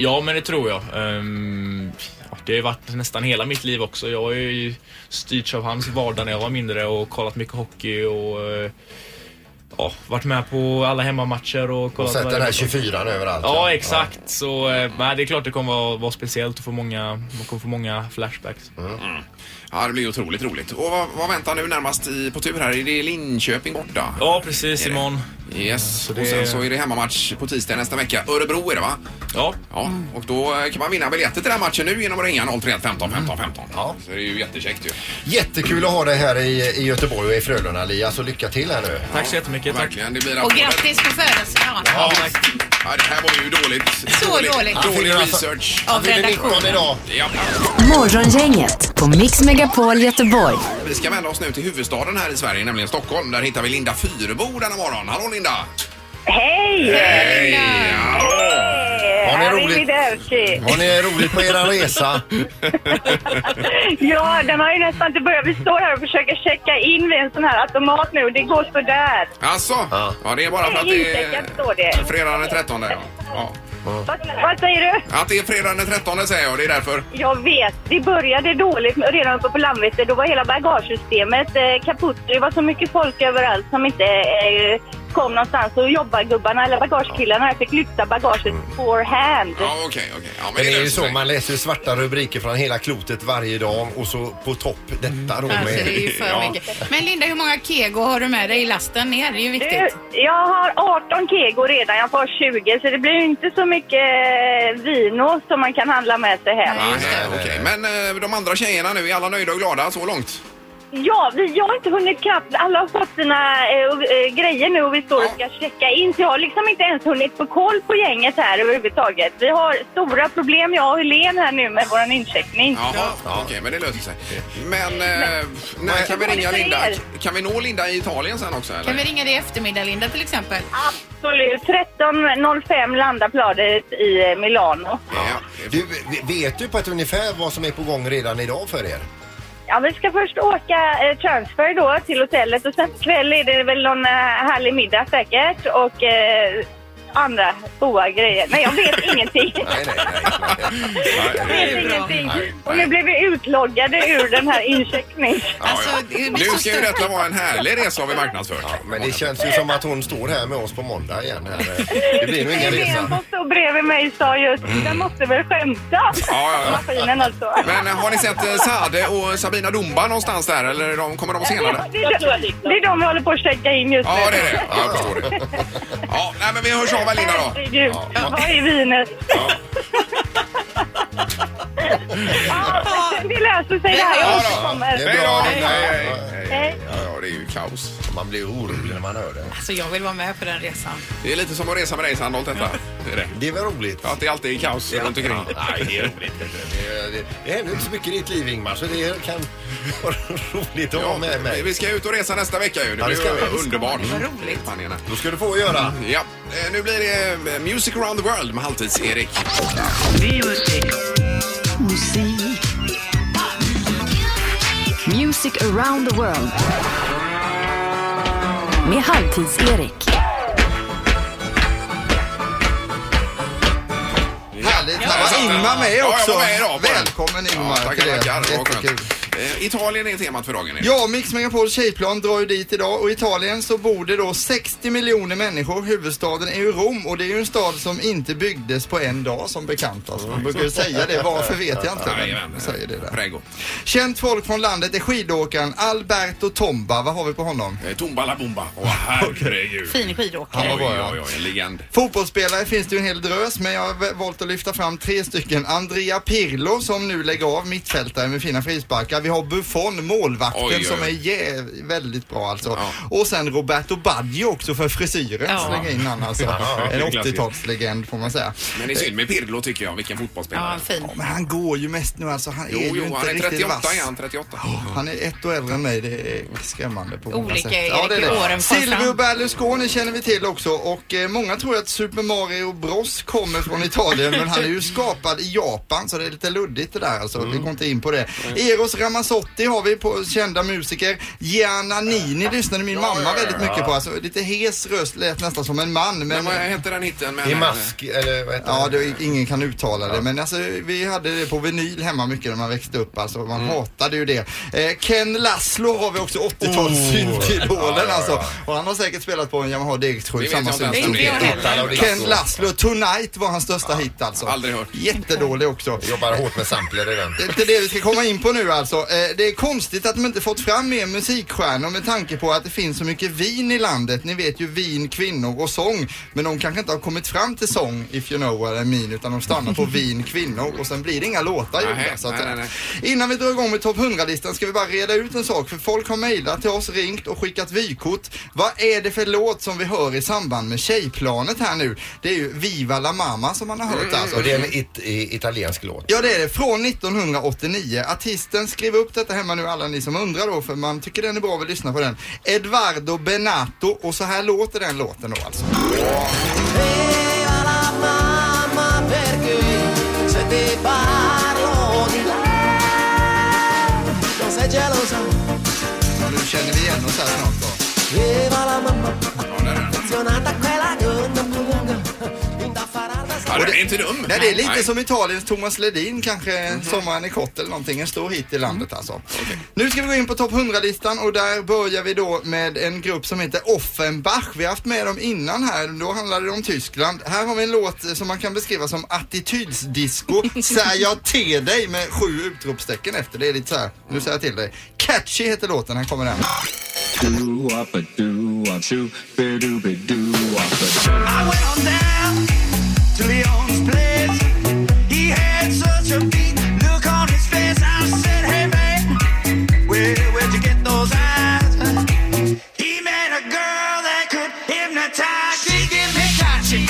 Speaker 13: Ja, men det tror jag. Ehm, ja, det har ju varit nästan hela mitt liv också. Jag har ju styrts av hans vardag när jag var mindre och kollat mycket hockey och eh, ja, varit med på alla hemmamatcher och kollat...
Speaker 3: Och sett
Speaker 13: varje
Speaker 3: den här
Speaker 13: match.
Speaker 3: 24 överallt.
Speaker 13: Ja, exakt. Så eh, nej, det är klart det kommer vara, vara speciellt och få många, man kommer få många flashbacks.
Speaker 2: Mm. Ja, det blir ju otroligt roligt. Och vad, vad väntar nu närmast i, på tur här? Är det Linköping borta?
Speaker 13: Ja, precis. Imorgon.
Speaker 2: Yes,
Speaker 13: det-
Speaker 2: och sen så är det hemmamatch på tisdag nästa vecka. Örebro är det va? Ja. ja. Och då eh, kan man vinna biljetter till den här matchen nu genom att ringa 031 15 15 15. Ja. Så det är ju jättekäckt ju.
Speaker 3: Jättekul att ha dig här i, i Göteborg och i Frölunda Lia, så lycka till här nu.
Speaker 2: Tack så jättemycket. Verkligen, det blir
Speaker 4: Och
Speaker 2: applåder.
Speaker 4: grattis på födelsedagen.
Speaker 2: Ja, ja, det här var ju dåligt.
Speaker 4: Så dåligt. Han
Speaker 2: Dålig
Speaker 4: fyller alltså-
Speaker 2: research.
Speaker 4: av Han fyller redaktionen. 19
Speaker 2: idag. Ja.
Speaker 5: Morgongänget på Mix Megapol Göteborg.
Speaker 2: Vi ska vända oss nu till huvudstaden här i Sverige, nämligen Stockholm. Där hittar vi Linda Fyrebo denna morgon. Hallå Linda!
Speaker 14: Hej!
Speaker 2: Hej!
Speaker 3: Har ni
Speaker 14: Harry
Speaker 3: roligt?
Speaker 14: Widerski.
Speaker 3: Har ni roligt på era resa?
Speaker 14: Ja, den har ju nästan inte börjat. Vi står här och försöker checka in vid en sån här automat nu. Det går så där.
Speaker 2: Alltså, ja. det är bara för att det är
Speaker 14: Incheckat står det.
Speaker 2: fredagen den 13. Ja. Ja.
Speaker 14: Vad, vad säger du?
Speaker 2: Att det är fredagen den 13 säger jag, det är därför.
Speaker 14: Jag vet, det började dåligt men redan uppe på Landvetter. Då var hela bagagesystemet eh, kaputt. Det var så mycket folk överallt som inte eh, kom någonstans. Och jobbargubbarna eller bagagekillarna fick lyfta bagaget forehand.
Speaker 2: Okej, okej. Ja,
Speaker 3: men det är ju så, man läser ju svarta rubriker från hela klotet varje dag och så på topp detta då med...
Speaker 4: Alltså, det är ju för mycket. Men Linda, hur många kego har du med dig i lasten ner? Det är ju viktigt.
Speaker 14: Du, jag har 18 kego redan, jag får 20 så det blir ju inte så mycket eh, vino som man kan handla med sig hem.
Speaker 2: Nej, okej. Men eh, de andra tjejerna nu, är alla nöjda och glada så långt?
Speaker 14: Ja, vi, jag har inte hunnit kapp. Alla har fått sina eh, och, eh, grejer nu och vi står och ska checka in. Så jag har liksom inte ens hunnit få koll på gänget här överhuvudtaget. Vi har stora problem, jag och Helen här nu med vår incheckning.
Speaker 2: Jaha, okej, men det löser sig. Men eh, när kan vi
Speaker 14: Vad
Speaker 2: ringa
Speaker 14: är det för
Speaker 2: Linda?
Speaker 14: er?
Speaker 2: Kan vi nå Linda i Italien sen också? Eller?
Speaker 4: Kan vi ringa dig i eftermiddag, Linda, till exempel?
Speaker 14: Absolut. 13.05 landar planet i eh, Milano.
Speaker 3: Du, v- vet du på ett ungefär vad som är på gång redan idag för er?
Speaker 14: Ja, vi ska först åka eh, transfer då till hotellet och sen kväll är det väl någon eh, härlig middag säkert och eh, andra goa grejer. Nej, jag vet ingenting. Jag vet ingenting. Och nu blev vi utloggade ur den här incheckningen.
Speaker 4: alltså,
Speaker 2: Nu ska ju detta vara en härlig resa har vi marknadsfört.
Speaker 3: Men det känns ju som att hon står här med oss på måndag igen. Här. Det blir nog ingen
Speaker 14: Helen
Speaker 3: resa.
Speaker 14: som stod bredvid mig sa just, den måste väl skämta.
Speaker 2: Mm. ja.
Speaker 14: Maskinen alltså.
Speaker 2: Men eh, har ni sett eh, Sade och Sabina Dumba någonstans där eller är de, kommer de senare?
Speaker 14: Det är, de, det är de vi håller på att checka in just nu.
Speaker 2: Ja, det är det. Ja, jag förstår det. Ja, nej, men vi hörs av Linda då.
Speaker 14: Herregud, vad är vinet? Ja, men det löser sig det här. Jag återkommer.
Speaker 2: Hej då! Hej, hej,
Speaker 14: Hej.
Speaker 2: Ja, ja, det är ju kaos.
Speaker 3: Man blir orolig när man hör det.
Speaker 4: Alltså, jag vill vara med på den resan.
Speaker 2: Det är lite som att resa med dig Sandholt detta. Det är, det.
Speaker 3: det är väl roligt?
Speaker 2: Att det alltid är kaos runt omkring.
Speaker 3: Nej, det är roligt. Det- det- Det händer inte så mycket i ditt liv Ingmar så det kan vara roligt att ha med mig.
Speaker 2: Vi ska ut och resa nästa vecka ju. Det
Speaker 3: Ja, det
Speaker 2: blir
Speaker 3: ska
Speaker 2: ju
Speaker 3: vi.
Speaker 2: underbart.
Speaker 3: Vad
Speaker 2: roligt.
Speaker 3: Då ska du få göra.
Speaker 2: Ja, eh, nu blir det eh, Music around the world med Halvtids-Erik.
Speaker 5: Musik. Music around the world. Med Halvtids-Erik.
Speaker 3: Härligt. Här
Speaker 2: Ja,
Speaker 3: var
Speaker 2: jag satt
Speaker 3: Ingmar
Speaker 2: där.
Speaker 3: med
Speaker 2: Ja,
Speaker 3: också.
Speaker 2: jag var med idag. på den.
Speaker 3: Välkommen, Ingmar,
Speaker 2: Ja,
Speaker 3: till
Speaker 2: tackar,
Speaker 3: det.
Speaker 2: tackar. Det var skönt.
Speaker 3: Jättekul.
Speaker 2: Eh, Italien är temat för dagen. Erik.
Speaker 7: Ja, Mix Megapols tjejplan drar ju dit idag och i Italien så bor det då 60 miljoner människor. Huvudstaden är ju Rom och det är ju en stad som inte byggdes på en dag som bekant. Alltså, man brukar ju säga det, varför vet jag inte.
Speaker 2: Jajamän.
Speaker 7: Men, säger det där.
Speaker 2: Prego.
Speaker 7: Känt folk från landet är skidåkaren Alberto Tomba. Vad har vi på honom?
Speaker 2: Eh, Tomba la bomba. Åh, herregud.
Speaker 4: Fin
Speaker 7: Han
Speaker 4: skidåkare.
Speaker 7: var bra,
Speaker 2: Oj,
Speaker 7: ja.
Speaker 2: oj, oj, en legend.
Speaker 7: Fotbollsspelare finns det ju en hel drös men jag har v- valt att lyfta fram tre stycken. Andrea Pirlo som nu lägger av, mittfältare med fina frisparkar. Vi har Buffon, målvakten
Speaker 2: Oj, oj, oj.
Speaker 7: som är jä- väldigt bra alltså. Och sen Roberto Baggio också för frisyren.
Speaker 2: Ja.
Speaker 7: Slänga in han alltså.
Speaker 2: Ja,
Speaker 7: En
Speaker 2: klassiskt.
Speaker 7: 80-talslegend får man säga.
Speaker 2: Men det är synd med Pirlo tycker jag. Vilken fotbollsspelare.
Speaker 4: fin.
Speaker 7: Men han går ju mest nu alltså. Han
Speaker 2: Jo,
Speaker 7: är ju
Speaker 2: jo,
Speaker 7: inte
Speaker 2: han är
Speaker 7: riktigt
Speaker 2: 38
Speaker 7: vass.
Speaker 2: är han. 38.
Speaker 7: Han är ett år äldre än mig. Det är skrämmande på många
Speaker 2: Olika
Speaker 7: sätt.
Speaker 2: Erik
Speaker 7: det är
Speaker 2: i
Speaker 7: det.
Speaker 2: åren far
Speaker 7: Silvio
Speaker 2: fram.
Speaker 7: Berlusconi känner vi till också och eh, många tror ju att Super Mario Bros kommer från Italien men han är ju skapad i Japan så det är lite luddigt det där alltså. Vi går inte in på det. Eros Ramazzotti har vi på kända musiker. Gianna Nini lyssnade min mamma väldigt mycket på. Alltså, lite hes röst, lät nästan som en man. Men,
Speaker 2: Men vad hette den hitten? med-
Speaker 3: I mask eller vad heter
Speaker 7: Ja, det, ingen kan uttala det. Men alltså, vi hade det på vinyl hemma mycket när man växte upp. Alltså, man
Speaker 2: Mm.
Speaker 7: hatade ju det. Eh, Ken Laszlo har vi också 80-tals
Speaker 2: Oh.
Speaker 3: Ja, ja,
Speaker 7: syntidolen
Speaker 3: ja,
Speaker 7: alltså. Och han har säkert spelat på en Yamaha DX7,
Speaker 2: vet
Speaker 7: samma
Speaker 2: jag inte ens
Speaker 7: synt
Speaker 2: vem
Speaker 7: som
Speaker 2: det är.
Speaker 7: vi.
Speaker 2: Inte jag heller.
Speaker 7: Ken Laszlo, Tonight var hans största hit alltså.
Speaker 2: Aldrig hört.
Speaker 7: Jättedålig också.
Speaker 3: Jobbar hårt med sampler i den.
Speaker 7: Det är inte det vi ska komma in på nu alltså. eh, det är konstigt att de inte fått fram mer musikstjärnor med tanke på att det finns så mycket vin i landet. Ni vet ju vin, kvinnor och sång. Men de kanske inte har kommit fram till sång, if you know what I mean, utan de stannar på vin, kvinnor och sen blir det inga låtar
Speaker 2: Nej,
Speaker 7: gjorda. Så att,
Speaker 2: nej, nej,
Speaker 7: Innan vi drar igång med topp 100-listan ska vi bara reda ut en sak. För folk har mejlat till oss, ringt och skickat vykort. Vad är det för låt som vi hör i samband med Tjejplanet här nu? Det är ju Viva la Mama som man har hört
Speaker 2: Mm.
Speaker 7: alltså.
Speaker 3: Och det är en it- i- italiensk låt.
Speaker 7: Ja det är det, från 1989. Artisten, skriv upp detta hemma nu alla ni som undrar då för man tycker den är bra, vi lyssnar på den. Edvardo Benato och så här låter den låten då alltså.
Speaker 1: mamma perché se ti parlo di lei non sei gelosa
Speaker 7: Ja, nu känner vi igen oss här snart då.
Speaker 1: viva la mamma affezionata a quella gonna lunga linda farata
Speaker 2: Ja, den är inte dum.
Speaker 7: Nej, det är lite som Italiens Thomas Ledin kanske, Sommaren är kort eller någonting. En stor hit i landet alltså. Nu ska vi gå in på topp 100-listan och där börjar vi då med en grupp som heter Offenbach. Vi har haft med dem innan här, då handlade det om Tyskland. Här har vi en låt som man kan beskriva som attitydsdisco. Säg jag till dig med sju utropstecken efter. Det är lite så här, nu säger jag till dig. Catchy heter låten, här kommer den.
Speaker 1: I went on down to Leon's place. He had such a big look on his face. I said, Hey man, where where'd you get those eyes? He met a girl that could hypnotize. She gave me catchy.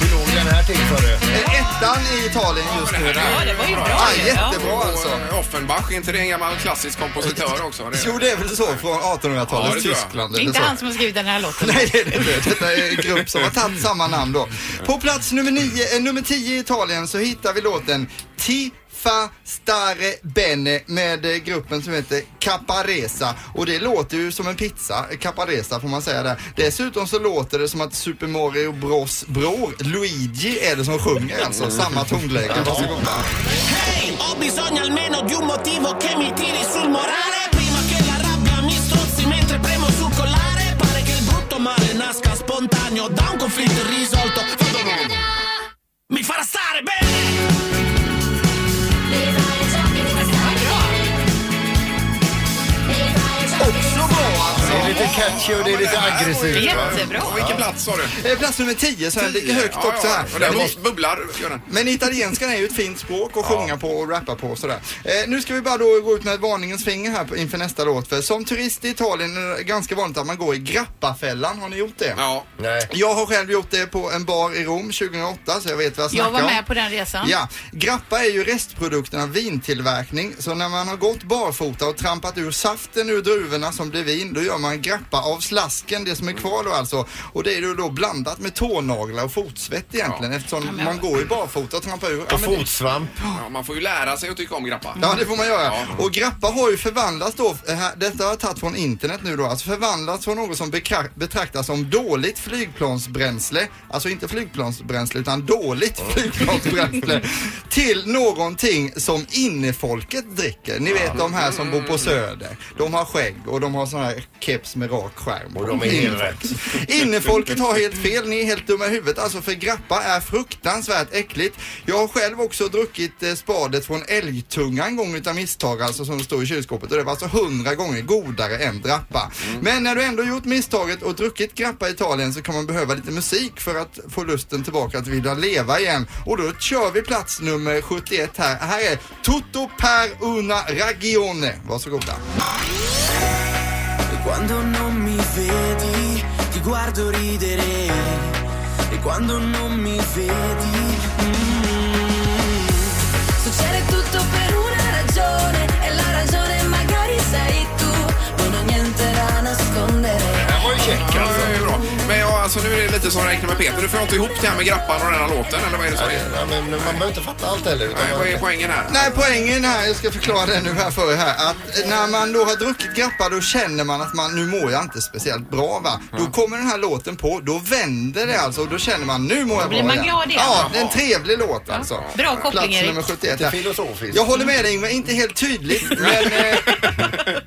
Speaker 3: Hur låg den här till för
Speaker 7: Eh, Ettan i Italien just nu.
Speaker 2: Ja, det var ju bra.
Speaker 7: Ja, jättebra
Speaker 2: Och,
Speaker 7: alltså.
Speaker 2: eh, Offenbach, är inte det en gammal klassisk kompositör också? Det är-
Speaker 7: Jo, det är väl så från 1800-talets
Speaker 2: Ja, det tror jag.
Speaker 7: Tyskland.
Speaker 4: Det är
Speaker 7: eller
Speaker 4: inte
Speaker 7: så.
Speaker 4: han som har skrivit den här låten.
Speaker 7: Nej, det är det inte. Detta är en grupp som har tagit samma namn då. På plats nummer, nio, eh, nummer tio i Italien så hittar vi låten Ti fa stare bene med eh, gruppen som heter Caparesa och det låter ju som en pizza, eh, Caparesa får man säga där. Dessutom så låter det som att Super Mario Bros bror Luigi är det som sjunger alltså, samma tonläge. Varsågoda.
Speaker 1: Ho bisogno almeno di un motivo che mi tiri sul morale. Prima che la rabbia mi strozzi mentre premo sul collare. Pare che il brutto male nasca spontaneo da un conflitto irrisolto. Vado bene. Mi farà stare
Speaker 3: Det är lite catchy och det är lite aggressivt.
Speaker 4: Jättebra.
Speaker 2: Och Vilken plats sa du?
Speaker 7: Eh, Plats nummer 10 så den ligger högt
Speaker 2: Ja,
Speaker 7: också
Speaker 2: ja,
Speaker 7: här.
Speaker 2: och där
Speaker 7: Men-
Speaker 2: bus- bubblar, gör den.
Speaker 7: Men italienskan är ju ett fint språk att sjunga på och rappa på och sådär. Eh, nu ska vi bara då gå ut med ett varningens finger här på- inför nästa låt. För som turist i Italien är det ganska vanligt att man går i grappafällan. Har ni gjort det?
Speaker 2: Ja.
Speaker 3: Nej.
Speaker 7: Jag har själv gjort det på en bar i Rom 2008 så jag vet vad jag snackar
Speaker 4: Jag
Speaker 7: om.
Speaker 4: var med på den resan.
Speaker 7: Ja, grappa är ju restprodukten av vintillverkning så när man har gått barfota och trampat ur saften ur druvorna som blir vin då gör man grappa av slasken, det som är kvar då alltså. Och det är ju då blandat med tånaglar och fotsvett egentligen eftersom man går i barfota och trampar ur. Ja, men det-
Speaker 3: Fotsvamp.
Speaker 2: Ja, man får ju lära sig att tycka om grappa.
Speaker 7: Ja, det får man göra. Och grappa har ju förvandlats då, eh, här- detta har jag tagit från internet nu då, alltså förvandlats från något som bekra- betraktas som dåligt flygplansbränsle, alltså inte flygplansbränsle utan dåligt flygplansbränsle, till någonting som innefolket dricker. Ni vet de här som bor på Söder, de har skägg och de har sån här keps med rak skärm.
Speaker 3: Och de är helt rätt.
Speaker 7: Innefolket har helt fel, ni är helt dumma i huvudet. Alltså för grappa är fruktansvärt äckligt. Jag har själv också druckit eh, spadet från älgtunga en gång utan misstag, alltså som står i kylskåpet. Och det var alltså hundra gånger godare än drappa. Men när du ändå gjort misstaget och druckit grappa i Italien så kan man behöva lite musik för att få lusten tillbaka att vilja leva igen. Och då kör vi plats nummer 71 här. Här är Tutto per una ragione. Varsågoda.
Speaker 1: E quando non mi vedi, ti guardo ridere. E quando non mi vedi, mm,
Speaker 15: Succede tutto per una ragione e la ragione magari sei tu. Non ho niente da nascondere.
Speaker 2: Det här var ju
Speaker 1: Ah,
Speaker 2: check alltså. Det är bra. Men ja, alltså, nu är det lite som räknar med Peter. Du får inte ihop det här med grappan och den här låten, eller vad är det som är?
Speaker 3: Nej, men man behöver inte fatta allt heller. Utan
Speaker 2: Nej, vad är
Speaker 3: man...
Speaker 2: poängen här?
Speaker 7: Nej, poängen här, jag ska förklara det nu här för er här, att när man då har druckit grappa då känner man att man, nu mår jag inte speciellt bra va. Då kommer den här låten på, då vänder det alltså och då känner man, nu mår jag
Speaker 4: blir
Speaker 7: bra
Speaker 4: man
Speaker 7: igen.
Speaker 4: glad igen.
Speaker 7: Ja, det är en trevlig låt alltså.
Speaker 4: Bra koppling,
Speaker 7: Plats
Speaker 4: Erik.
Speaker 7: nummer 71
Speaker 3: Lite
Speaker 7: här.
Speaker 3: filosofiskt.
Speaker 7: Jag håller med dig Ingvar, inte helt tydligt men eh,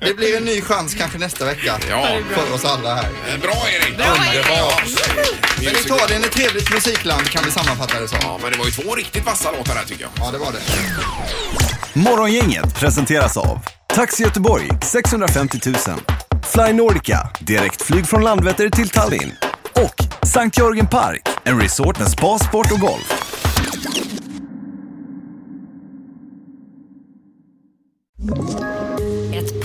Speaker 7: det blir en ny chans kanske nästa vecka
Speaker 2: Ja.
Speaker 7: för oss alla här.
Speaker 2: Eh, Bra Erik!
Speaker 4: Bra, Erik.
Speaker 2: Underbart!
Speaker 7: Men Italien Italien är ett trevligt musikland kan vi sammanfatta det som.
Speaker 16: Ja, men det var ju två riktigt vassa låtar här tycker jag.
Speaker 7: Ja, det var det.
Speaker 17: Morgongänget presenteras av Taxi Göteborg 650 000 Fly Nordica, direktflyg från Landvetter till Tallinn och Sankt Jörgen Park, en resort med spa, sport och golf.
Speaker 18: Ett